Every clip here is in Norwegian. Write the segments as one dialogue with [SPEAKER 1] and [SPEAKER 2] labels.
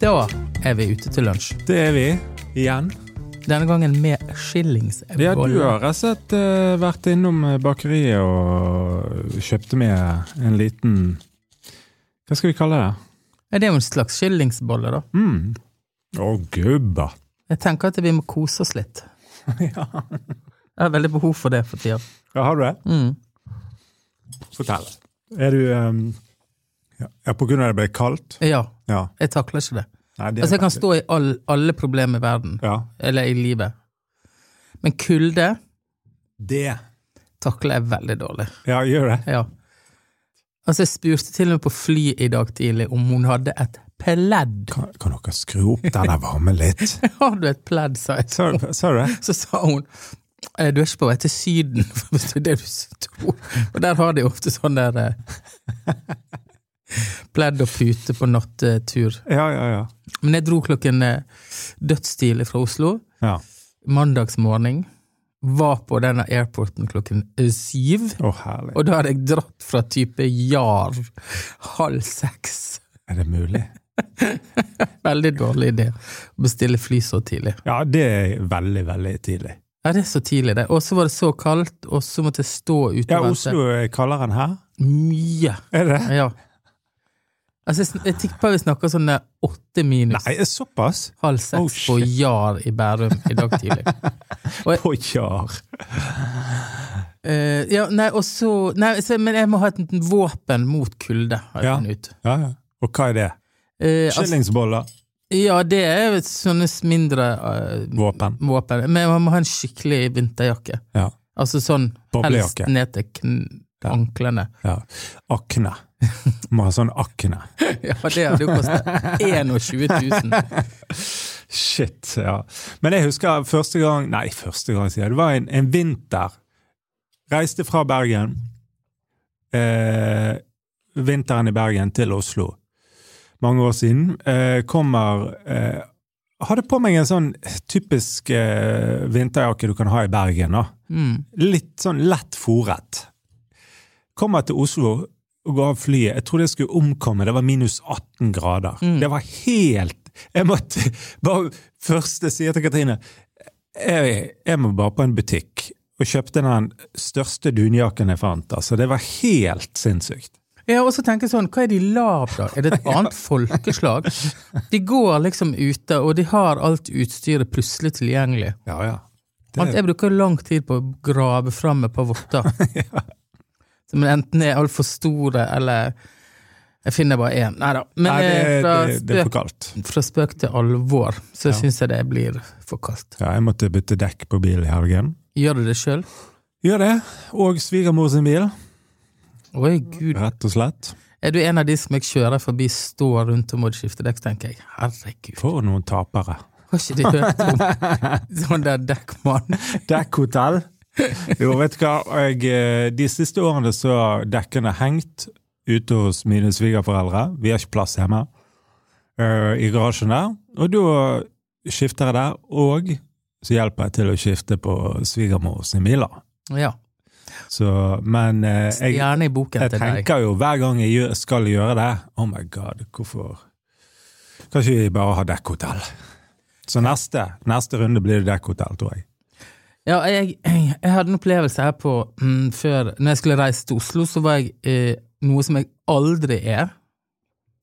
[SPEAKER 1] Da er vi ute til lunsj.
[SPEAKER 2] Det er vi. Igjen.
[SPEAKER 1] Denne gangen med skillingsboller.
[SPEAKER 2] Ja, du har rett og slett eh, vært innom eh, bakeriet og kjøpte med en liten Hva skal vi kalle det?
[SPEAKER 1] Ja, Det er jo en slags skillingsbolle, da.
[SPEAKER 2] Mm. Å, gubba.
[SPEAKER 1] Jeg tenker at vi må kose oss litt.
[SPEAKER 2] ja.
[SPEAKER 1] Jeg har veldig behov for det for tida.
[SPEAKER 2] ja, har du det?
[SPEAKER 1] Mm.
[SPEAKER 2] Fortell. Er du ehm, ja, ja, på grunn av det ble kaldt?
[SPEAKER 1] Ja,
[SPEAKER 2] Ja.
[SPEAKER 1] jeg takler ikke det.
[SPEAKER 2] Nei, det er
[SPEAKER 1] Altså, jeg kan
[SPEAKER 2] veldig-
[SPEAKER 1] stå i all, alle problemer i verden,
[SPEAKER 2] Ja.
[SPEAKER 1] eller i livet. Men kulde
[SPEAKER 2] Det.
[SPEAKER 1] takler jeg veldig dårlig.
[SPEAKER 2] Ja, gjør det.
[SPEAKER 1] Ja. Altså, jeg spurte til og med på fly i dag tidlig om hun hadde et pledd.
[SPEAKER 2] Kan, kan dere skru opp den der varmen litt?
[SPEAKER 1] Har du et pledd, sa jeg.
[SPEAKER 2] Sa sa du det?
[SPEAKER 1] Så sa hun «Eh, du er ikke på vei til Syden, for det er det du tror. Og der har de ofte sånn der eh, pledd og pute på nattetur.
[SPEAKER 2] Ja, ja, ja.
[SPEAKER 1] Men jeg dro klokken eh, dødstidlig fra Oslo.
[SPEAKER 2] ja.
[SPEAKER 1] Mandagsmorgen. Var på denne airporten klokken eh, syv.
[SPEAKER 2] Å, herlig.
[SPEAKER 1] Og da hadde jeg dratt fra type jar halv seks.
[SPEAKER 2] Er det mulig?
[SPEAKER 1] Veldig dårlig idé å bestille fly så tidlig.
[SPEAKER 2] Ja, det er veldig, veldig tidlig.
[SPEAKER 1] Ja, det er så tidlig, det. Og så var det så kaldt, og så måtte jeg stå ute
[SPEAKER 2] Ja,
[SPEAKER 1] og vente.
[SPEAKER 2] Oslo er kaldere enn her.
[SPEAKER 1] Mye.
[SPEAKER 2] Er det?
[SPEAKER 1] Ja. Altså, jeg, sn- jeg tipper vi snakker sånn eh, åtte minus
[SPEAKER 2] Nei, såpass?
[SPEAKER 1] halv
[SPEAKER 2] oh,
[SPEAKER 1] seks
[SPEAKER 2] shit.
[SPEAKER 1] på Jar i Bærum i dag tidlig.
[SPEAKER 2] På jar.
[SPEAKER 1] Eh, ja, nei, og så Nei, så, men jeg må ha et liten våpen mot kulde, har jeg
[SPEAKER 2] Ja.
[SPEAKER 1] funnet ut.
[SPEAKER 2] Ja, ja. Og hva er det?
[SPEAKER 1] Eh, altså,
[SPEAKER 2] Skillingsboller?
[SPEAKER 1] ja, det er jo et sånne mindre eh,
[SPEAKER 2] Våpen?
[SPEAKER 1] våpen. Men man må ha en skikkelig vinterjakke.
[SPEAKER 2] Ja.
[SPEAKER 1] Altså sånn helst
[SPEAKER 2] Boblejakke?
[SPEAKER 1] ned til kn anklene.
[SPEAKER 2] Ja. Akne. Må ha sånn akne.
[SPEAKER 1] Ja, det hadde jo kostet 21 000.
[SPEAKER 2] Shit, ja. Men jeg husker første gang Nei, første gang, sier jeg. Det var en, en vinter. Reiste fra Bergen. Eh, vinteren i Bergen til Oslo. Mange år siden. Eh, kommer eh, Hadde på meg en sånn typisk eh, vinterjakke du kan ha i Bergen. da.
[SPEAKER 1] Mm.
[SPEAKER 2] litt sånn lett fòret. Kommer til Oslo og går av flyet. Jeg trodde jeg skulle omkomme. Det var minus 18 grader.
[SPEAKER 1] Mm.
[SPEAKER 2] Det var helt Jeg måtte bare Første sier til Katrine jeg, jeg må bare på en butikk. Og kjøpte den største dunjakken jeg fant. Altså, det var helt sinnssykt.
[SPEAKER 1] Ja, og så tenker jeg sånn, hva er de lav da? Er det et annet folkeslag? De går liksom ute, og de har alt utstyret plutselig tilgjengelig.
[SPEAKER 2] Ja, ja.
[SPEAKER 1] Alt,
[SPEAKER 2] Det,
[SPEAKER 1] jeg bruker lang tid på å grave fram et par votter. Som enten er altfor store, eller jeg finner bare én. Nei da. Men
[SPEAKER 2] nei,
[SPEAKER 1] eh,
[SPEAKER 2] det,
[SPEAKER 1] fra,
[SPEAKER 2] det, det er for
[SPEAKER 1] spøk,
[SPEAKER 2] kaldt.
[SPEAKER 1] fra spøk til alvor, så
[SPEAKER 2] Ja.
[SPEAKER 1] syns jeg det blir for kaldt.
[SPEAKER 2] Ja, jeg måtte bytte dekk på bilen i helgen.
[SPEAKER 1] Gjør du det sjøl?
[SPEAKER 2] Gjør det. Og svigermor sin bil,
[SPEAKER 1] Oi, gud.
[SPEAKER 2] rett og slett.
[SPEAKER 1] Er du en av de som jeg kjører forbi, står rundt og må skifte dekk, tenker jeg. Herregud.
[SPEAKER 2] For noen tapere.
[SPEAKER 1] Har ikke de hørt om sånn der dekkmann?
[SPEAKER 2] Dekkhotell. Jo, vet du hva. Jeg, eh, de siste årene så har dekkene hengt ute hos mine svigerforeldre. Vi har ikke plass hjemme. eh, I garasjen der. Og da skifter jeg der, og så hjelper jeg til å skifte på svigermor sin bil. da.
[SPEAKER 1] Ja.
[SPEAKER 2] Så, men eh, jeg,
[SPEAKER 1] Gjerne i boken
[SPEAKER 2] jeg
[SPEAKER 1] til deg.
[SPEAKER 2] tenker jo hver gang jeg gjør, skal gjøre det Oh my god, hvorfor Kan ikke vi bare ha dekkhotell? Så neste, neste runde blir det dekkhotell, tror jeg.
[SPEAKER 1] Ja, jeg, jeg hadde en opplevelse her på mm, før Når jeg skulle reise til Oslo, så var jeg eh, noe som jeg aldri er,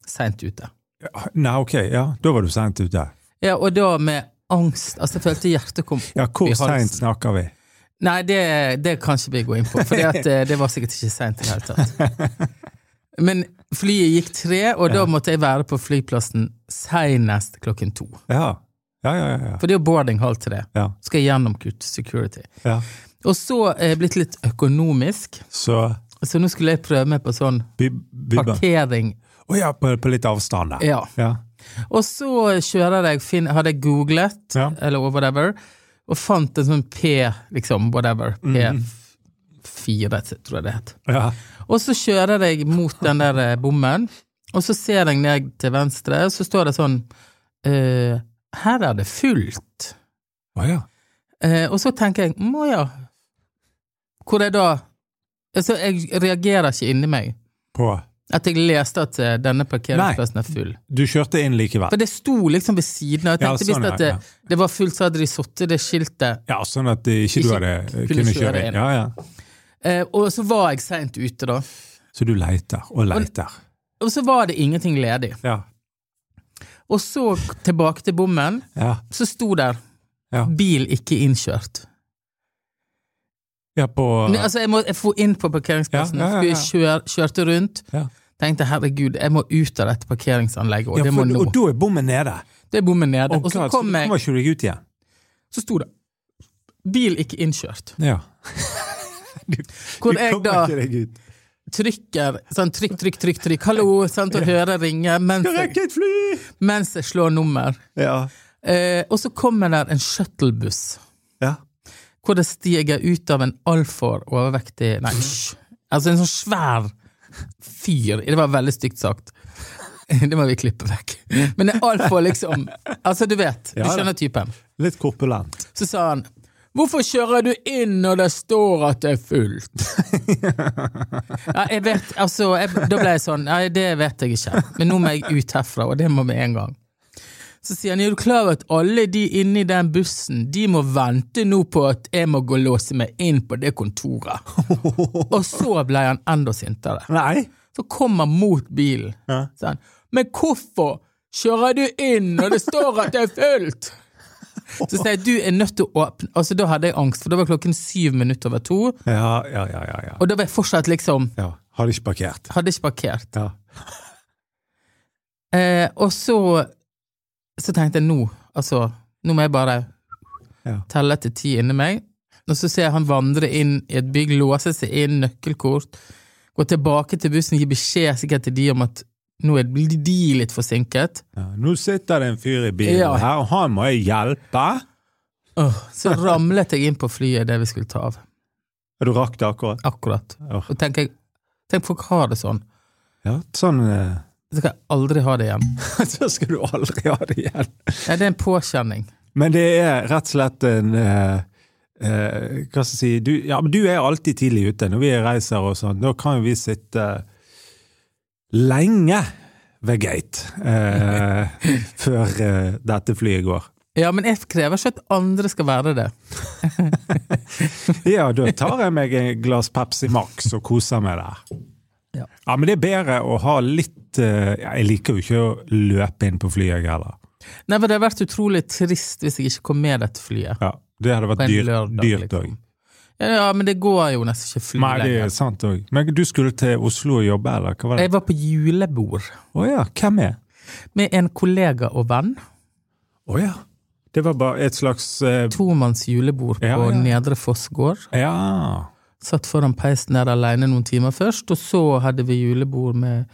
[SPEAKER 1] seint ute.
[SPEAKER 2] Ja, Nei, ok, ja. Da var du sent ute.
[SPEAKER 1] Ja, og da med angst. Altså, jeg følte hjertet kom opp
[SPEAKER 2] Ja, hvor
[SPEAKER 1] i halsen.
[SPEAKER 2] seint snakker vi?
[SPEAKER 1] Nei, det, det kan ikke vi gå inn på, for det var sikkert ikke seint i det hele tatt. Men flyet gikk tre, og da måtte jeg være på flyplassen seinest klokken to.
[SPEAKER 2] Ja. Ja, ja, ja. ja.
[SPEAKER 1] For det er jo boarding halv tre.
[SPEAKER 2] ja,
[SPEAKER 1] Så Skal jeg gjennom security.
[SPEAKER 2] ja.
[SPEAKER 1] Og så er jeg blitt litt økonomisk.
[SPEAKER 2] Så
[SPEAKER 1] Så nå skulle jeg prøve meg på sånn
[SPEAKER 2] by- Bubba. Å
[SPEAKER 1] parkering.
[SPEAKER 2] ja, på, på litt avstand der.
[SPEAKER 1] Ja.
[SPEAKER 2] Ja.
[SPEAKER 1] Og så kjører jeg, fin- hadde jeg googlet,
[SPEAKER 2] Ja.
[SPEAKER 1] eller whatever, og fant en sånn P, liksom, whatever, P4, tror jeg det het.
[SPEAKER 2] ja.
[SPEAKER 1] Og så kjører jeg mot den der eh, bommen, og så ser jeg ned til venstre, og så står det sånn, eh, her er det fullt.
[SPEAKER 2] Å ja.
[SPEAKER 1] Eh, og så tenker jeg, må ja, hvor er da, altså jeg reagerer ikke inni meg.
[SPEAKER 2] På
[SPEAKER 1] At jeg leste at eh, denne parkeringsplassen er full.
[SPEAKER 2] Du kjørte inn likevel.
[SPEAKER 1] For det sto liksom ved siden av. Jeg
[SPEAKER 2] Ja,
[SPEAKER 1] tenkte
[SPEAKER 2] sånn,
[SPEAKER 1] hvis
[SPEAKER 2] ja,
[SPEAKER 1] at det,
[SPEAKER 2] ja.
[SPEAKER 1] det var fullt, så hadde de satt det skiltet.
[SPEAKER 2] Ja, sånn at eh, ikke du
[SPEAKER 1] Ikke
[SPEAKER 2] hadde eh,
[SPEAKER 1] kunne
[SPEAKER 2] kunne
[SPEAKER 1] kjøre
[SPEAKER 2] kjøre
[SPEAKER 1] inn.
[SPEAKER 2] inn. Ja, ja.
[SPEAKER 1] Eh, og så var jeg seint ute, da.
[SPEAKER 2] Så du leiter og leiter.
[SPEAKER 1] Og så var det ingenting ledig.
[SPEAKER 2] Ja.
[SPEAKER 1] Og så tilbake til bommen,
[SPEAKER 2] Ja.
[SPEAKER 1] så sto der
[SPEAKER 2] Ja.
[SPEAKER 1] 'bil ikke innkjørt'.
[SPEAKER 2] ja på
[SPEAKER 1] Men, altså, jeg, må, jeg får inn på parkeringsplassen,
[SPEAKER 2] Ja, ja, ja, ja.
[SPEAKER 1] skulle kjøre- kjørte rundt.
[SPEAKER 2] Ja.
[SPEAKER 1] Tenkte herregud, jeg må ut av dette parkeringsanlegget, og
[SPEAKER 2] ja,
[SPEAKER 1] det må
[SPEAKER 2] for,
[SPEAKER 1] nå.
[SPEAKER 2] Og da er bommen nede.
[SPEAKER 1] Det er bommen nede.
[SPEAKER 2] Oh,
[SPEAKER 1] og så
[SPEAKER 2] God,
[SPEAKER 1] kom
[SPEAKER 2] så
[SPEAKER 1] jeg,
[SPEAKER 2] kommer ikke du deg ut igjen.
[SPEAKER 1] så sto det 'bil ikke innkjørt'.
[SPEAKER 2] Ja.
[SPEAKER 1] Hvor
[SPEAKER 2] Du
[SPEAKER 1] jeg
[SPEAKER 2] kommer
[SPEAKER 1] da
[SPEAKER 2] ikke deg ut.
[SPEAKER 1] trykker sånn trykk, trykk, trykk, trykk, hallo, sant, og hører ringe mens
[SPEAKER 2] Jeg
[SPEAKER 1] jeg,
[SPEAKER 2] rekker et fly!
[SPEAKER 1] mens jeg slår nummer.
[SPEAKER 2] Ja.
[SPEAKER 1] Eh, og så kommer der en shuttlebuss.
[SPEAKER 2] ja.
[SPEAKER 1] hvor det stiger ut av en altfor overvektig
[SPEAKER 2] Mhm.
[SPEAKER 1] Nei, hysj. Altså en sånn svær fyr. Det var veldig stygt sagt. Det må vi klippe vekk. Men det er altfor liksom Altså, du vet. Du
[SPEAKER 2] Ja, ja.
[SPEAKER 1] skjønner typen.
[SPEAKER 2] Litt korpulent.
[SPEAKER 1] Så sa han Hvorfor kjører du inn når det står at det er fullt? Ja, jeg vet, altså, jeg, Da ble jeg sånn Nei, det vet jeg ikke. Men nå må jeg ut herfra, og det må med en gang. Så sier han er du klar over at alle de inni den bussen de må vente nå på at jeg må gå og låse meg inn på det kontoret. Og så ble han enda sintere.
[SPEAKER 2] Nei.
[SPEAKER 1] Så kom han mot bilen.
[SPEAKER 2] Ja.
[SPEAKER 1] Så han, Men hvorfor kjører du inn når det står at det er fullt? Så sier jeg du er nødt til å åpne Altså Da hadde jeg angst, for da var klokken syv minutter over to.
[SPEAKER 2] Ja, ja, ja, ja. ja.
[SPEAKER 1] Og da var jeg fortsatt liksom
[SPEAKER 2] ja. Hadde ikke parkert.
[SPEAKER 1] Hadde ikke parkert.
[SPEAKER 2] Ja.
[SPEAKER 1] Eh, og så Så tenkte jeg nå Altså, nå må jeg bare
[SPEAKER 2] Ja.
[SPEAKER 1] telle til ti inni meg. Og så ser jeg han vandre inn i et bygg, låse seg inn, nøkkelkort. Gå tilbake til bussen, gi beskjed sikkert til de om at nå er de litt forsinket.
[SPEAKER 2] Ja. Nå sitter det en fyr i bilen
[SPEAKER 1] Ja.
[SPEAKER 2] her, og han må jeg hjelpe.
[SPEAKER 1] Åh, så ramlet jeg inn på flyet det vi skulle ta av.
[SPEAKER 2] Ja, Du rakk det akkurat.
[SPEAKER 1] Akkurat.
[SPEAKER 2] Åh.
[SPEAKER 1] Og tenker jeg, tenk folk har det sånn.
[SPEAKER 2] Ja, sånn eh,
[SPEAKER 1] Så kan jeg aldri ha det igjen.
[SPEAKER 2] Så skal du aldri ha det igjen.
[SPEAKER 1] Ja, det er en påkjenning.
[SPEAKER 2] Men det er rett og slett en eh, eh, Hva skal jeg si du, ja, men du er alltid tidlig ute når vi reiser og sånn. Da kan jo vi sitte lenge ved gate eh, før eh, dette flyet går.
[SPEAKER 1] Ja, men jeg krever ikke at andre skal være det.
[SPEAKER 2] Ja, da tar jeg meg et glass Pepsi Max og koser meg der.
[SPEAKER 1] Ja.
[SPEAKER 2] Ja, men det er bedre å ha litt eh, ja, Jeg liker jo ikke å løpe inn på flyet, jeg heller.
[SPEAKER 1] Nei, for det hadde vært utrolig trist hvis jeg ikke kom med dette flyet.
[SPEAKER 2] Ja, det hadde
[SPEAKER 1] På
[SPEAKER 2] vært
[SPEAKER 1] en
[SPEAKER 2] dyrt òg.
[SPEAKER 1] lørdag, liksom. Ja, ja, men det går jo nesten ikke fly
[SPEAKER 2] Nei, det er
[SPEAKER 1] lenger.
[SPEAKER 2] sant òg. Men du skulle til Oslo og jobbe, eller hva var det?
[SPEAKER 1] Jeg var på julebord
[SPEAKER 2] Å ja, hvem er?
[SPEAKER 1] med en kollega og venn.
[SPEAKER 2] Å ja. Det var bare et slags eh,
[SPEAKER 1] Tomanns julebord på
[SPEAKER 2] Ja, ja.
[SPEAKER 1] Nedre Fossgård.
[SPEAKER 2] Ja.
[SPEAKER 1] Satt foran peisen der alene noen timer først, og så hadde vi julebord med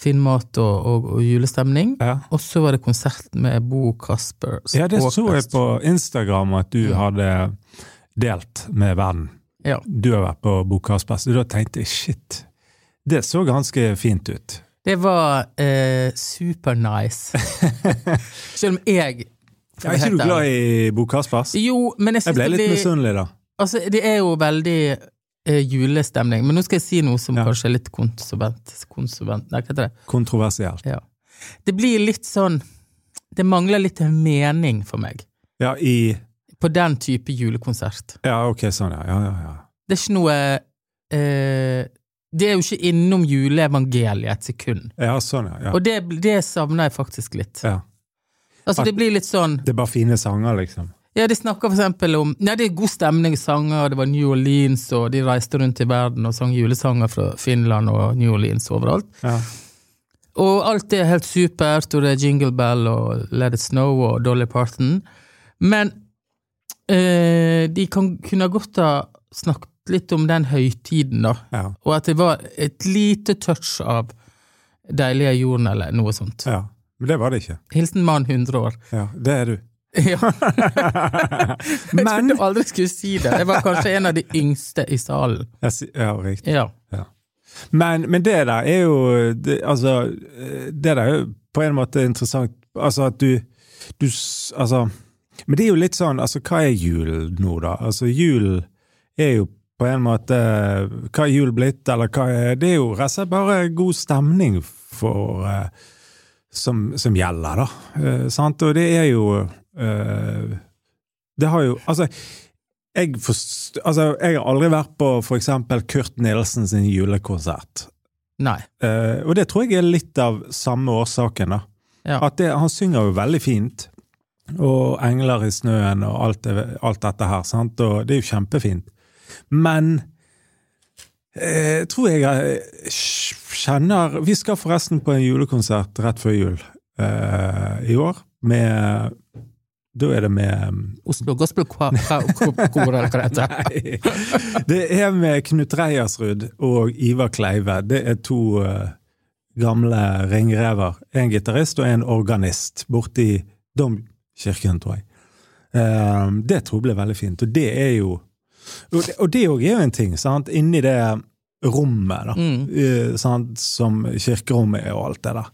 [SPEAKER 1] fin mat og, og, og julestemning.
[SPEAKER 2] Ja.
[SPEAKER 1] Og så var det konsert med Bo Kasper.
[SPEAKER 2] ja, det så jeg
[SPEAKER 1] Språkfest.
[SPEAKER 2] på Instagram at du hadde delt med verden.
[SPEAKER 1] Ja.
[SPEAKER 2] Du har vært på Bokaspersen, og da tenkte jeg shit, det så ganske fint ut.
[SPEAKER 1] Det var eh, supernice. Selv om jeg
[SPEAKER 2] Ja, er ikke du glad i Bo Kaspers?
[SPEAKER 1] Jo, men jeg
[SPEAKER 2] Jeg
[SPEAKER 1] synes
[SPEAKER 2] ble
[SPEAKER 1] det
[SPEAKER 2] litt
[SPEAKER 1] blir-
[SPEAKER 2] misunnelig, da.
[SPEAKER 1] Altså, det er jo veldig eh, julestemning, men nå skal jeg si noe som
[SPEAKER 2] Ja.
[SPEAKER 1] kanskje er litt konsobent. konsobent. Nei, hva heter det?
[SPEAKER 2] Kontroversielt.
[SPEAKER 1] Ja. Det blir litt sånn Det mangler litt mening for meg
[SPEAKER 2] Ja, i
[SPEAKER 1] på den type julekonsert.
[SPEAKER 2] Ja, ok, sånn, ja. Ja, ja, ja.
[SPEAKER 1] Det er ikke noe eh, Det er jo ikke innom juleevangeliet et sekund.
[SPEAKER 2] ja sånn, ja. ja.
[SPEAKER 1] Og det, det savner jeg faktisk litt.
[SPEAKER 2] ja.
[SPEAKER 1] Altså, det blir litt sånn
[SPEAKER 2] Det er bare fine sanger, liksom.
[SPEAKER 1] Ja, de snakker for eksempel om Nei, det er god stemning i sanger, og det var New Orleans, og de reiste rundt i verden og sang julesanger fra Finland og New Orleans overalt.
[SPEAKER 2] Ja.
[SPEAKER 1] Og alt det er helt supert, og det er Jingle Bell og Let It Snow og Dolly Parton. Men eh, de kan, kunne godt ha snakket litt om den høytiden, da.
[SPEAKER 2] Ja.
[SPEAKER 1] Og at det var et lite touch av Deilige jorden, eller noe sånt.
[SPEAKER 2] ja. Men det var det ikke.
[SPEAKER 1] Hilsen mann 100 år.
[SPEAKER 2] Ja, det er du.
[SPEAKER 1] Ja, jeg
[SPEAKER 2] Men
[SPEAKER 1] trodde aldri skulle si det. Jeg var kanskje en av de yngste i salen.
[SPEAKER 2] Jeg si- Ja, riktig.
[SPEAKER 1] Ja.
[SPEAKER 2] Men, men det der er jo det, Altså, det der er jo på en måte interessant. Altså at du, du s- Altså Men det er jo litt sånn altså Hva er jul nå, da? Altså, jul er jo på en måte Hva er jul blitt, eller hva er Det er jo rett og slett bare god stemning for eh, som, som gjelder, da. Eh, sant? Og det er jo eh, Det har jo Altså, jeg, forst, altså, jeg har aldri vært på for eksempel Kurt Nilsen sin julekonsert.
[SPEAKER 1] Nei.
[SPEAKER 2] Eh, og det tror jeg er litt av samme årsaken, da.
[SPEAKER 1] Ja.
[SPEAKER 2] At det, han synger jo veldig fint. Og 'Engler i snøen' og alt, det, alt dette her. sant? Og det er jo kjempefint. Men eh, jeg tror jeg eh, kjenner Vi skal forresten på en julekonsert rett før jul eh, i år. Med Da er det med
[SPEAKER 1] Oslo Gospel Choir, eller hva det heter.
[SPEAKER 2] Nei. Det er med Knut Reiersrud og Ivar Kleive. Det er to eh, gamle ringrever. En gitarist og en organist borti domkirken, tror jeg. Eh, det tror jeg ble veldig fint. Og det er jo Og det- og det òg er jo en ting, sant? Inni det rommet, da.
[SPEAKER 1] Mm.
[SPEAKER 2] eh, sant? Som kirkerommet er og alt det der.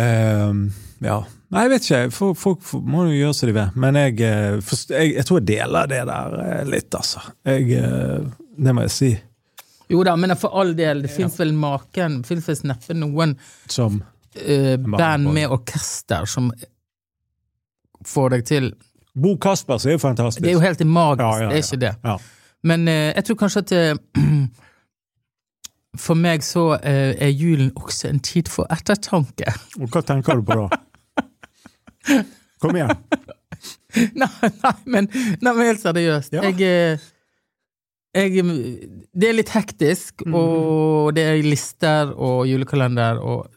[SPEAKER 2] Ehm, ja. Nei, jeg vet ikke. Folk, folk får- må jo gjøre som de vil. Men jeg, eh, forst- jeg, jeg tror jeg deler det der eh, litt, altså. Jeg, eh, det må jeg si.
[SPEAKER 1] Jo da, men for all del, det fins vel maken, det fins vel neppe noen
[SPEAKER 2] Som
[SPEAKER 1] eh, band
[SPEAKER 2] på
[SPEAKER 1] med orkester som får deg til
[SPEAKER 2] Bo Kaspers er jo fantastisk.
[SPEAKER 1] Det er jo helt magisk,
[SPEAKER 2] Ja, ja,
[SPEAKER 1] det er
[SPEAKER 2] ja.
[SPEAKER 1] ikke det.
[SPEAKER 2] ja.
[SPEAKER 1] Men eh, jeg tror kanskje at eh, for meg så eh, er julen også en tid for ettertanke.
[SPEAKER 2] Og hva tenker du på da? Kom igjen.
[SPEAKER 1] nei, nei, men, nei, men helt seriøst.
[SPEAKER 2] Ja.
[SPEAKER 1] Jeg, eh, jeg Det er litt hektisk,
[SPEAKER 2] Mm.
[SPEAKER 1] og det er lister og julekalender og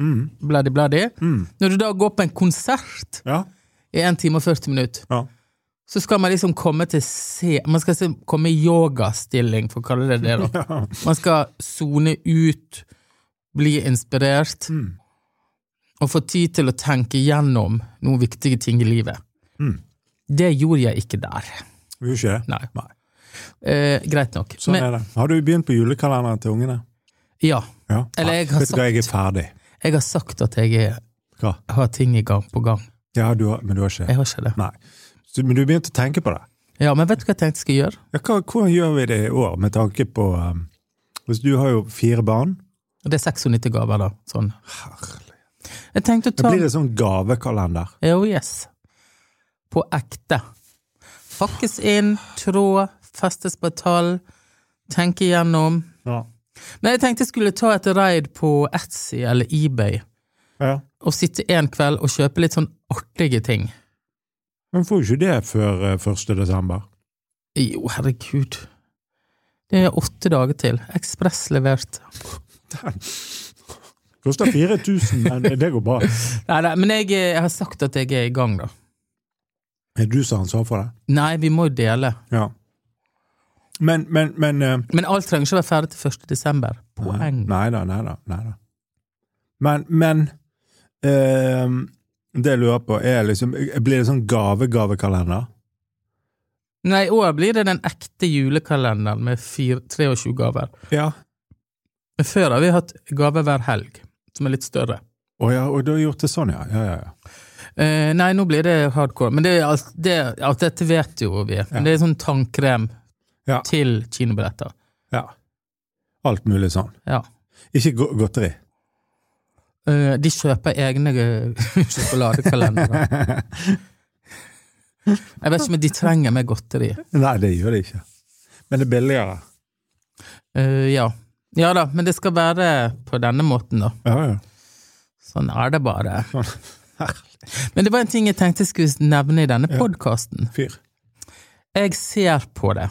[SPEAKER 2] Mm,
[SPEAKER 1] bladi-bladi.
[SPEAKER 2] mm.
[SPEAKER 1] Når du da går på en konsert
[SPEAKER 2] Ja.
[SPEAKER 1] i 1 time og 40 minutter,
[SPEAKER 2] ja.
[SPEAKER 1] så skal man liksom komme til se Man skal se, komme i yogastilling, for å kalle det det. da.
[SPEAKER 2] ja.
[SPEAKER 1] Man skal sone ut, bli inspirert,
[SPEAKER 2] Mm.
[SPEAKER 1] og få tid til å tenke gjennom noen viktige ting i livet.
[SPEAKER 2] Mm.
[SPEAKER 1] Det gjorde jeg ikke der.
[SPEAKER 2] Vi gjør ikke det.
[SPEAKER 1] Nei. Eh, greit nok.
[SPEAKER 2] Sånn
[SPEAKER 1] Men,
[SPEAKER 2] er det. Har du begynt på julekalenderen til ungene?
[SPEAKER 1] ja,
[SPEAKER 2] Ja.
[SPEAKER 1] Eller jeg har
[SPEAKER 2] Vet du hva, jeg er ferdig.
[SPEAKER 1] jeg har sagt at jeg er,
[SPEAKER 2] Hva?
[SPEAKER 1] har ting i gang på gang.
[SPEAKER 2] Ja, du har, men du har ikke
[SPEAKER 1] Jeg har ikke det.
[SPEAKER 2] Nei. Så, men du begynte å tenke på det?
[SPEAKER 1] Ja, Men vet du hva jeg tenkte jeg skulle gjøre?
[SPEAKER 2] Ja, hva, hvordan gjør vi det i år, med tanke på um, Hvis du har jo fire barn
[SPEAKER 1] Det er 96 gaver, da. Sånn. Jeg tenkte å
[SPEAKER 2] Da
[SPEAKER 1] ta
[SPEAKER 2] blir det sånn gavekalender.
[SPEAKER 1] Jo, yes. På ekte. Pakkes inn, tråd, festes på tall, tenke igjennom.
[SPEAKER 2] Ja.
[SPEAKER 1] Men jeg tenkte jeg skulle ta et raid på Etsy eller eBay,
[SPEAKER 2] ja.
[SPEAKER 1] og sitte en kveld og kjøpe litt sånn artige ting.
[SPEAKER 2] Men får jo ikke det før eh, 1. desember.
[SPEAKER 1] Jo, herregud. Det er åtte dager til. Ekspress levert.
[SPEAKER 2] Koster 4000, men det går bra.
[SPEAKER 1] Nei, nei, men jeg, eh, jeg har sagt at jeg er i gang, da.
[SPEAKER 2] Er du som har ansvar for det?
[SPEAKER 1] Nei, vi må jo dele.
[SPEAKER 2] Ja. Men, men, men eh,
[SPEAKER 1] Men alt trenger ikke å være ferdig til 1. desember. Poeng.
[SPEAKER 2] Nei da, nei da. Nei da. Men, men eh, Det jeg lurer på, er liksom Blir det sånn gave-gavekalender?
[SPEAKER 1] Nei, i år blir det den ekte julekalenderen med fire, 23 gaver.
[SPEAKER 2] Ja.
[SPEAKER 1] Men før har vi hatt gaver hver helg, som er litt større.
[SPEAKER 2] Å ja, og du har gjort det sånn, ja. Ja, ja, ja.
[SPEAKER 1] Eh, nei, nå blir det hardcore. Men det, er alt- det, alt dette vet jo vi. Men det er sånn tannkrem
[SPEAKER 2] Ja.
[SPEAKER 1] til kinobilletter.
[SPEAKER 2] ja. Alt mulig sånn.
[SPEAKER 1] Ja.
[SPEAKER 2] Ikke go- godteri.
[SPEAKER 1] Eh, de kjøper egne eh, sjokoladekalendere. Jeg vet ikke om de trenger mer godteri.
[SPEAKER 2] Nei, det gjør det ikke. Men det er billigere.
[SPEAKER 1] Eh, ja. ja da, men det skal være på denne måten, da.
[SPEAKER 2] Ja, ja.
[SPEAKER 1] Sånn er det bare. Men det var en ting jeg tenkte jeg skulle nevne i denne podkasten.
[SPEAKER 2] Fyr.
[SPEAKER 1] Jeg ser på det.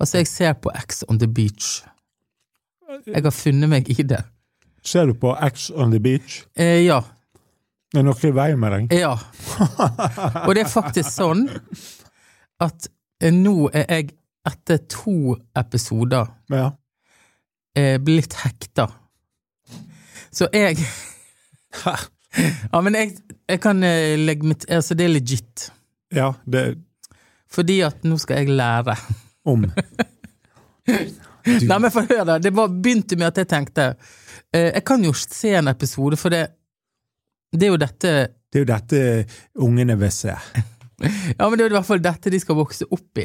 [SPEAKER 1] Altså, jeg ser på X on the beach. Jeg har funnet meg i det.
[SPEAKER 2] Ser du på X on the beach?
[SPEAKER 1] Eh, ja.
[SPEAKER 2] Er noe i veien med deg?
[SPEAKER 1] Ja. Og det er faktisk sånn at eh, nå er jeg, etter to episoder,
[SPEAKER 2] Ja.
[SPEAKER 1] eh, blitt hekta. Så jeg Ja, men jeg, jeg kan eh, legge mitt Altså, det er legit.
[SPEAKER 2] ja det
[SPEAKER 1] Fordi at nå skal jeg lære.
[SPEAKER 2] om.
[SPEAKER 1] Nei, men få høre, da. det var, begynte med at jeg tenkte eh, Jeg kan jo se en episode, for det Det er jo dette
[SPEAKER 2] Det er jo dette ungene vil se.
[SPEAKER 1] Ja, men det er jo i hvert fall dette de skal vokse opp i.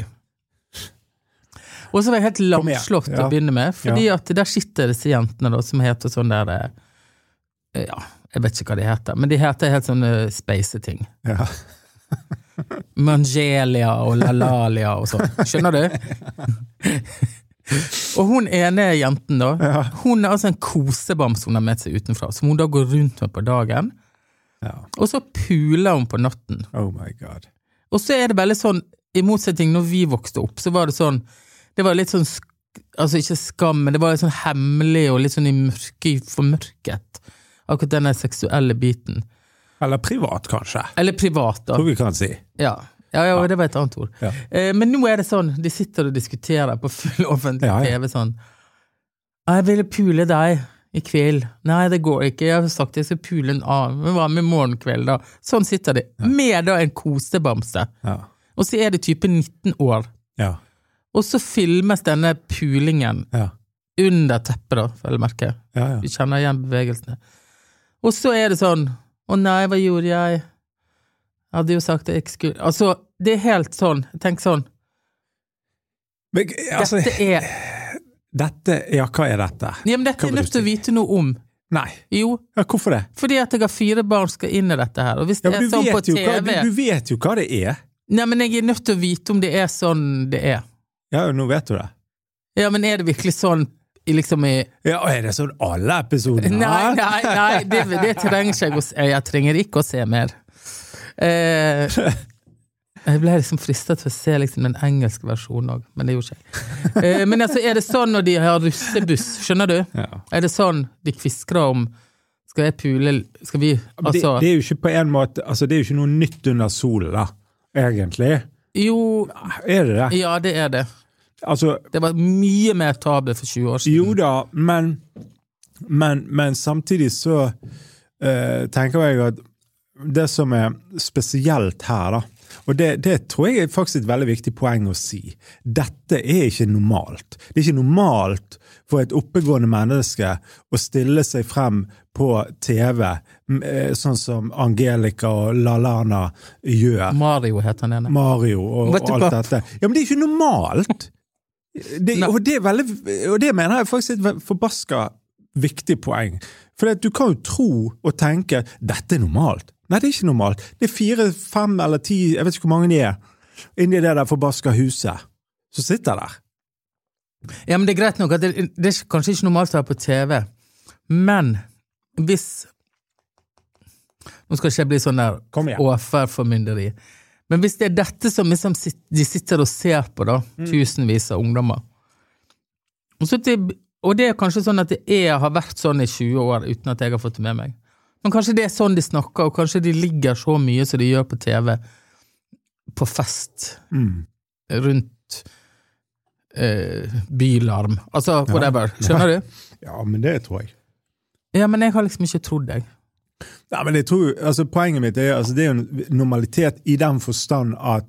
[SPEAKER 1] Og så var jeg helt
[SPEAKER 2] igjen.
[SPEAKER 1] lamslått til
[SPEAKER 2] Ja.
[SPEAKER 1] å begynne med, fordi at der sitter disse jentene da, som heter sånn der eh, Ja, jeg vet ikke hva de heter, men de heter helt sånne space-ting.
[SPEAKER 2] Ja.
[SPEAKER 1] Mangelia og Lalalia og sånn. Skjønner du? og hun ene jenten, da, hun er altså en kosebamse hun har med seg utenfra, som hun da går rundt med på dagen.
[SPEAKER 2] ja.
[SPEAKER 1] Og så puler hun på natten.
[SPEAKER 2] Oh my god.
[SPEAKER 1] Og så er det veldig sånn, i motsetning når vi vokste opp, så var det sånn Det var litt sånn sk- Altså ikke skam, men det var litt sånn hemmelig og litt sånn i mørke, formørket. Akkurat den der seksuelle biten.
[SPEAKER 2] Eller privat, kanskje.
[SPEAKER 1] Eller privat, da.
[SPEAKER 2] Tror vi kan si.
[SPEAKER 1] Ja. Ja, ja, det var et annet ord.
[SPEAKER 2] Ja.
[SPEAKER 1] Eh, men nå er det sånn, de sitter og diskuterer på full offentlig
[SPEAKER 2] Ja, ja.
[SPEAKER 1] TV sånn 'Jeg ville pule deg i kveld.' 'Nei, det går ikke. Jeg har sagt jeg skal pule en annen.' Men hva med i morgen kveld, da? Sånn sitter de. Med da en kosebamse.
[SPEAKER 2] Ja.
[SPEAKER 1] Og så er de type 19 år.
[SPEAKER 2] Ja.
[SPEAKER 1] Og så filmes denne pulingen
[SPEAKER 2] Ja.
[SPEAKER 1] under teppet, da, føler jeg merke.
[SPEAKER 2] Ja, ja.
[SPEAKER 1] Du kjenner igjen bevegelsene. Og så er det sånn Å nei, hva gjorde jeg? Jeg hadde jo sagt at jeg ikke skulle Altså, det er helt sånn. Tenk sånn.
[SPEAKER 2] Men, altså,
[SPEAKER 1] Dette er
[SPEAKER 2] dette Ja, hva er dette?
[SPEAKER 1] Ja, men dette
[SPEAKER 2] Hva
[SPEAKER 1] er
[SPEAKER 2] vil
[SPEAKER 1] nødt
[SPEAKER 2] du
[SPEAKER 1] til å vite noe om.
[SPEAKER 2] Nei.
[SPEAKER 1] Jo,
[SPEAKER 2] Ja, hvorfor det?
[SPEAKER 1] fordi at jeg har fire barn skal inn i dette her. Og hvis det
[SPEAKER 2] Ja, men
[SPEAKER 1] er
[SPEAKER 2] du,
[SPEAKER 1] sånn på
[SPEAKER 2] vet jo
[SPEAKER 1] TV
[SPEAKER 2] hva, du, du vet jo hva det er.
[SPEAKER 1] Nei, men jeg er nødt til å vite om det er sånn det er.
[SPEAKER 2] Ja, nå vet du det.
[SPEAKER 1] Ja, men er det virkelig sånn i liksom i
[SPEAKER 2] Ja, og Er det sånn alle episoder?
[SPEAKER 1] Nei, nei, nei det, det trenger ikke jeg å se. Jeg trenger ikke å se mer. Eh, jeg ble liksom fristet til å se liksom den engelske versjonen òg, men det gjorde ikke jeg. Eh, men altså, er det sånn når de har russebuss, skjønner du?
[SPEAKER 2] Ja.
[SPEAKER 1] Er det sånn de kviskrer om Skal jeg pule Skal vi
[SPEAKER 2] Men Det,
[SPEAKER 1] Altså
[SPEAKER 2] det er jo ikke på en måte altså Det er jo ikke noe nytt under solen, da, egentlig.
[SPEAKER 1] Jo,
[SPEAKER 2] Er det det?
[SPEAKER 1] ja, det er det.
[SPEAKER 2] Altså,
[SPEAKER 1] Det var mye mer tabu for 20 år siden.
[SPEAKER 2] jo da, men Men, men samtidig så eh, tenker jeg at det som er spesielt her, da og det, det tror jeg er faktisk et veldig viktig poeng å si. Dette er ikke normalt. Det er ikke normalt for et oppegående menneske å stille seg frem på TV m- eh, sånn som Angelica og Lalana gjør.
[SPEAKER 1] Mario heter den ene.
[SPEAKER 2] Mario og,
[SPEAKER 1] Vet
[SPEAKER 2] og
[SPEAKER 1] du
[SPEAKER 2] alt
[SPEAKER 1] hva?
[SPEAKER 2] dette. Ja, Men det er ikke normalt! Det,
[SPEAKER 1] Nei.
[SPEAKER 2] og, det er veldig, og det mener jeg faktisk er et ve- forbaska viktig poeng. For du kan jo tro og tenke dette er normalt. Nei, det er ikke normalt. Det er fire, fem eller ti, jeg vet ikke hvor mange de er, inni det der forbaska huset som sitter der.
[SPEAKER 1] Ja, men det er greit nok at det, det er kanskje ikke normalt å være på TV, men hvis Nå skal ikke jeg bli sånn der
[SPEAKER 2] Kom igjen.
[SPEAKER 1] overformynderi, men hvis det er dette som liksom sit- de sitter og ser på, da, tusenvis av ungdommer og, så det, og det er kanskje sånn at det er, har vært sånn i 20 år uten at jeg har fått det med meg. Men kanskje det er sånn de snakker, og kanskje de ligger så mye som de gjør på TV, på fest
[SPEAKER 2] Mm.
[SPEAKER 1] rundt eh, bylarm. Altså whatever. Skjønner du?
[SPEAKER 2] Ja, men det tror jeg.
[SPEAKER 1] Ja, men jeg har liksom ikke trodd deg.
[SPEAKER 2] Nei, men jeg tror, altså Poenget mitt er altså det er jo en normalitet i den forstand at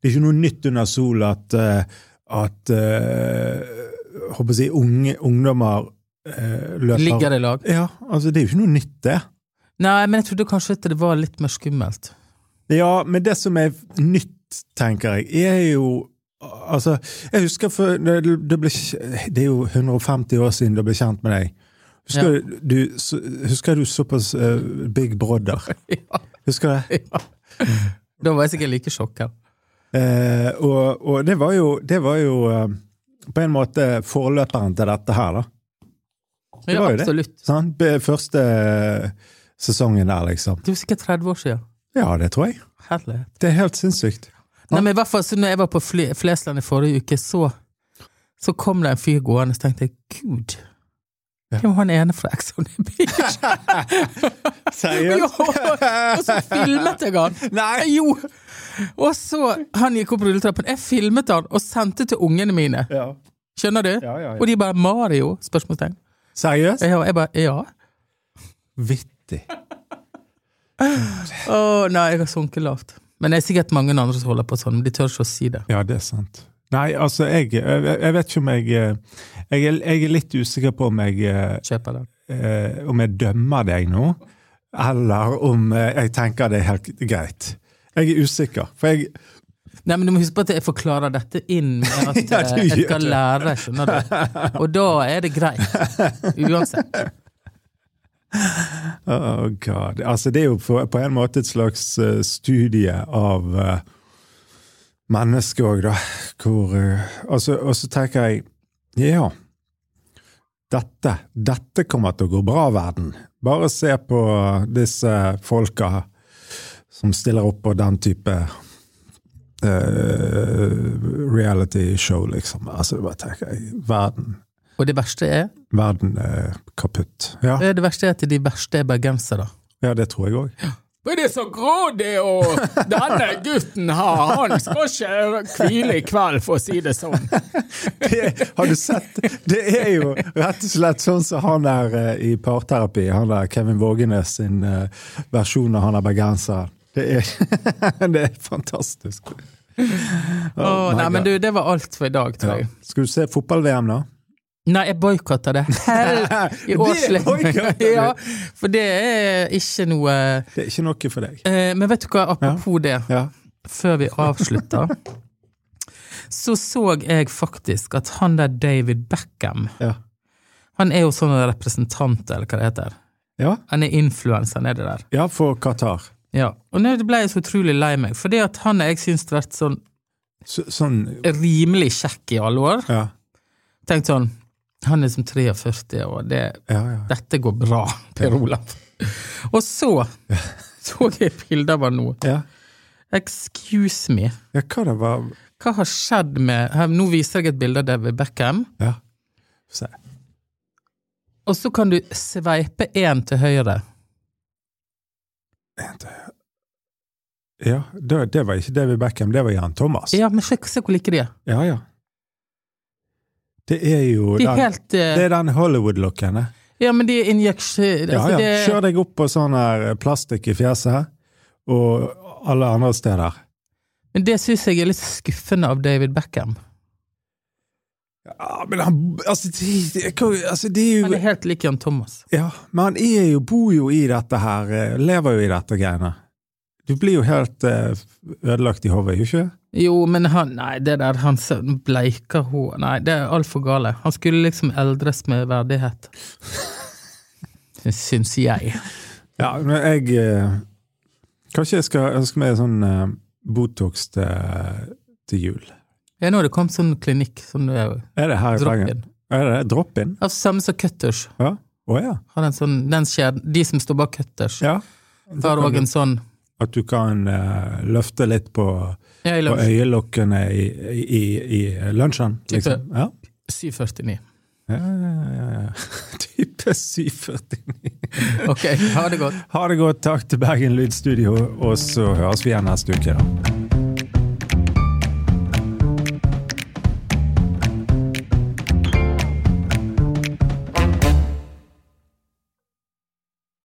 [SPEAKER 2] det er ikke noe nytt under sol at, eh, at eh, håper jeg å si, unge, ungdommer eh, løper
[SPEAKER 1] Ligger i lag.
[SPEAKER 2] Ja, altså Det er jo ikke noe nytt, det.
[SPEAKER 1] Nei, men jeg trodde kanskje at det var litt mer skummelt.
[SPEAKER 2] Ja, men det som er nytt, tenker jeg, er jo Altså, jeg husker for, det, det, ble, det er jo 150 år siden du ble kjent med deg. Husker, du, så- husker du såpass eh, Big Brother?
[SPEAKER 1] Ja,
[SPEAKER 2] Husker du det?
[SPEAKER 1] ja. Da var jeg sikkert like sjokka.
[SPEAKER 2] Eh, og, og det var jo, det var jo eh, på en måte forløperen til dette her, da. Det
[SPEAKER 1] Ja,
[SPEAKER 2] var jo det.
[SPEAKER 1] absolutt.
[SPEAKER 2] Sant? Be- Første eh, sesongen der, liksom.
[SPEAKER 1] Det var sikkert 30 år siden.
[SPEAKER 2] Ja, det tror jeg.
[SPEAKER 1] Herlighet.
[SPEAKER 2] Det er helt sinnssykt.
[SPEAKER 1] Nei, men i hvert fall så når jeg var på fly, Flesland i forrige uke, så, så kom det en fyr gående, så tenkte jeg gud, det var han ene fra Ex on the Beach. Jo, og så filmet jeg han.
[SPEAKER 2] Nei!
[SPEAKER 1] Jo! Og så Han gikk opp rulletrappen. Jeg filmet han og sendte til ungene mine.
[SPEAKER 2] Ja.
[SPEAKER 1] Skjønner du?
[SPEAKER 2] Ja, ja, ja.
[SPEAKER 1] Og de bare 'Mario?' spørsmålstegn.
[SPEAKER 2] Seriøst?
[SPEAKER 1] Ja, jeg bare 'ja'.
[SPEAKER 2] Vittig.
[SPEAKER 1] Å nei, jeg har sunket lavt. Men det er sikkert mange andre som holder på sånn, men de tør ikke å si det.
[SPEAKER 2] Ja, det er sant. Nei, altså, jeg, jeg, jeg vet ikke om jeg eh, Jeg er, jeg er litt usikker på om jeg eh,
[SPEAKER 1] Kjøper den.
[SPEAKER 2] eh, om jeg dømmer deg nå, eller om eh, jeg tenker det er helt greit. Jeg er usikker, for jeg,
[SPEAKER 1] Nei, men Du må huske på at jeg forklarer dette inn med at
[SPEAKER 2] Ja, du
[SPEAKER 1] eh, jeg
[SPEAKER 2] gjør
[SPEAKER 1] skal
[SPEAKER 2] det.
[SPEAKER 1] lære. skjønner du? Og da er det greit. Uansett.
[SPEAKER 2] Oh god. Altså, det er jo på, på en måte et slags eh, studie av eh, mennesket òg, da. Hvor eh, altså, Og så tenker jeg Ja. Dette, dette kommer til å gå bra, verden. Bare se på disse folka som stiller opp på den type eh, reality show, liksom. Altså, bare tenker jeg Verden,
[SPEAKER 1] Og det verste er
[SPEAKER 2] verden er kaputt. Ja,
[SPEAKER 1] det verste er at de verste er bergensere.
[SPEAKER 2] ja det tror jeg òg.
[SPEAKER 1] Men det er så grådig, og denne gutten her, han skal ikke hvile i kveld, for å si det sånn.
[SPEAKER 2] Det, har du sett? Det er jo rett og slett sånn som han er eh, i parterapi. Han er Kevin Vågenes sin eh, versjon av han er bergenser. Det er, det er fantastisk.
[SPEAKER 1] Åh,
[SPEAKER 2] Oh my
[SPEAKER 1] nei, men
[SPEAKER 2] God.
[SPEAKER 1] du, det var alt for i dag, tror
[SPEAKER 2] Ja.
[SPEAKER 1] jeg.
[SPEAKER 2] Skal du se fotball-VM, da?
[SPEAKER 1] Nei, jeg boikotter det. Helt i
[SPEAKER 2] Det boykotter
[SPEAKER 1] årslivet.
[SPEAKER 2] du?
[SPEAKER 1] ja, for det er ikke noe
[SPEAKER 2] Det er ikke noe for deg.
[SPEAKER 1] eh, Men vet du hva, apropos det,
[SPEAKER 2] Ja.
[SPEAKER 1] før vi avslutter, så så jeg faktisk at han der David Beckham,
[SPEAKER 2] Ja.
[SPEAKER 1] han er jo sånn representant, eller hva det heter.
[SPEAKER 2] ja.
[SPEAKER 1] Han er influenser, er det der.
[SPEAKER 2] ja for Qatar.
[SPEAKER 1] Ja, og nå ble jeg så utrolig lei meg, for det at han jeg syns har vært sånn
[SPEAKER 2] Så, sånn
[SPEAKER 1] rimelig kjekk i alle år.
[SPEAKER 2] ja.
[SPEAKER 1] Tenkt sånn Han er som 43, og det,
[SPEAKER 2] Ja, ja.
[SPEAKER 1] dette går bra, Per Olav. Og så så jeg bilder av han nå.
[SPEAKER 2] ja.
[SPEAKER 1] Excuse me,
[SPEAKER 2] Ja, hva det var
[SPEAKER 1] hva har skjedd med her, Nå viser jeg et bilde av David Beckham,
[SPEAKER 2] Ja. Se.
[SPEAKER 1] og så kan du sveipe én til høyre.
[SPEAKER 2] Ja, det, det var ikke David Beckham, det var Jan Thomas.
[SPEAKER 1] Ja, men sjekk, se hvor like de er.
[SPEAKER 2] ja. ja. Det er jo
[SPEAKER 1] De
[SPEAKER 2] den-
[SPEAKER 1] er helt eh,
[SPEAKER 2] Det er den Hollywood-looken. det.
[SPEAKER 1] Ja, men de er injeksjon...
[SPEAKER 2] Ja, ja.
[SPEAKER 1] det,
[SPEAKER 2] Kjør deg opp på sånn her plastikk i fjeset, og alle andre steder.
[SPEAKER 1] men det syns jeg er litt skuffende av David Beckham.
[SPEAKER 2] Ja, men han Altså, det, det, hva- altså, det er
[SPEAKER 1] Han
[SPEAKER 2] jo
[SPEAKER 1] er helt lik Jan Thomas.
[SPEAKER 2] Ja, men han er jo, bor jo i dette her, eh, lever jo i dette greiene. Du blir jo helt eh, ødelagt i hodet, gjør du ikke?
[SPEAKER 1] Jo, men han Nei, det der han ser- bleiker hår Nei, det er altfor gale. Han skulle liksom eldres med verdighet. Syns jeg.
[SPEAKER 2] Ja, men jeg eh, Kanskje jeg skal ønske meg sånn eh, Botox til, til jul.
[SPEAKER 1] Ja, nå har det kommet sånn klinikk som det er
[SPEAKER 2] Er det her i Bergen?
[SPEAKER 1] drop-in.
[SPEAKER 2] Er det det? Drop-in?
[SPEAKER 1] Altså, samme som Cutters.
[SPEAKER 2] Ja. Å ja.
[SPEAKER 1] Har en sånn, den skjer, de som står bak Cutters,
[SPEAKER 2] ja.
[SPEAKER 1] har òg en sånn
[SPEAKER 2] At du kan eh, løfte litt på,
[SPEAKER 1] Ja, i
[SPEAKER 2] på
[SPEAKER 1] lønn
[SPEAKER 2] øyelokkene i, i, i lunsjen,
[SPEAKER 1] Type.
[SPEAKER 2] liksom. Ja.
[SPEAKER 1] 749.
[SPEAKER 2] Ja, ja, ja, ja. Type 749.
[SPEAKER 1] Ok, ha det godt.
[SPEAKER 2] Ha det godt. Takk til Bergen Lydstudio, og så høres vi igjen neste uke. da.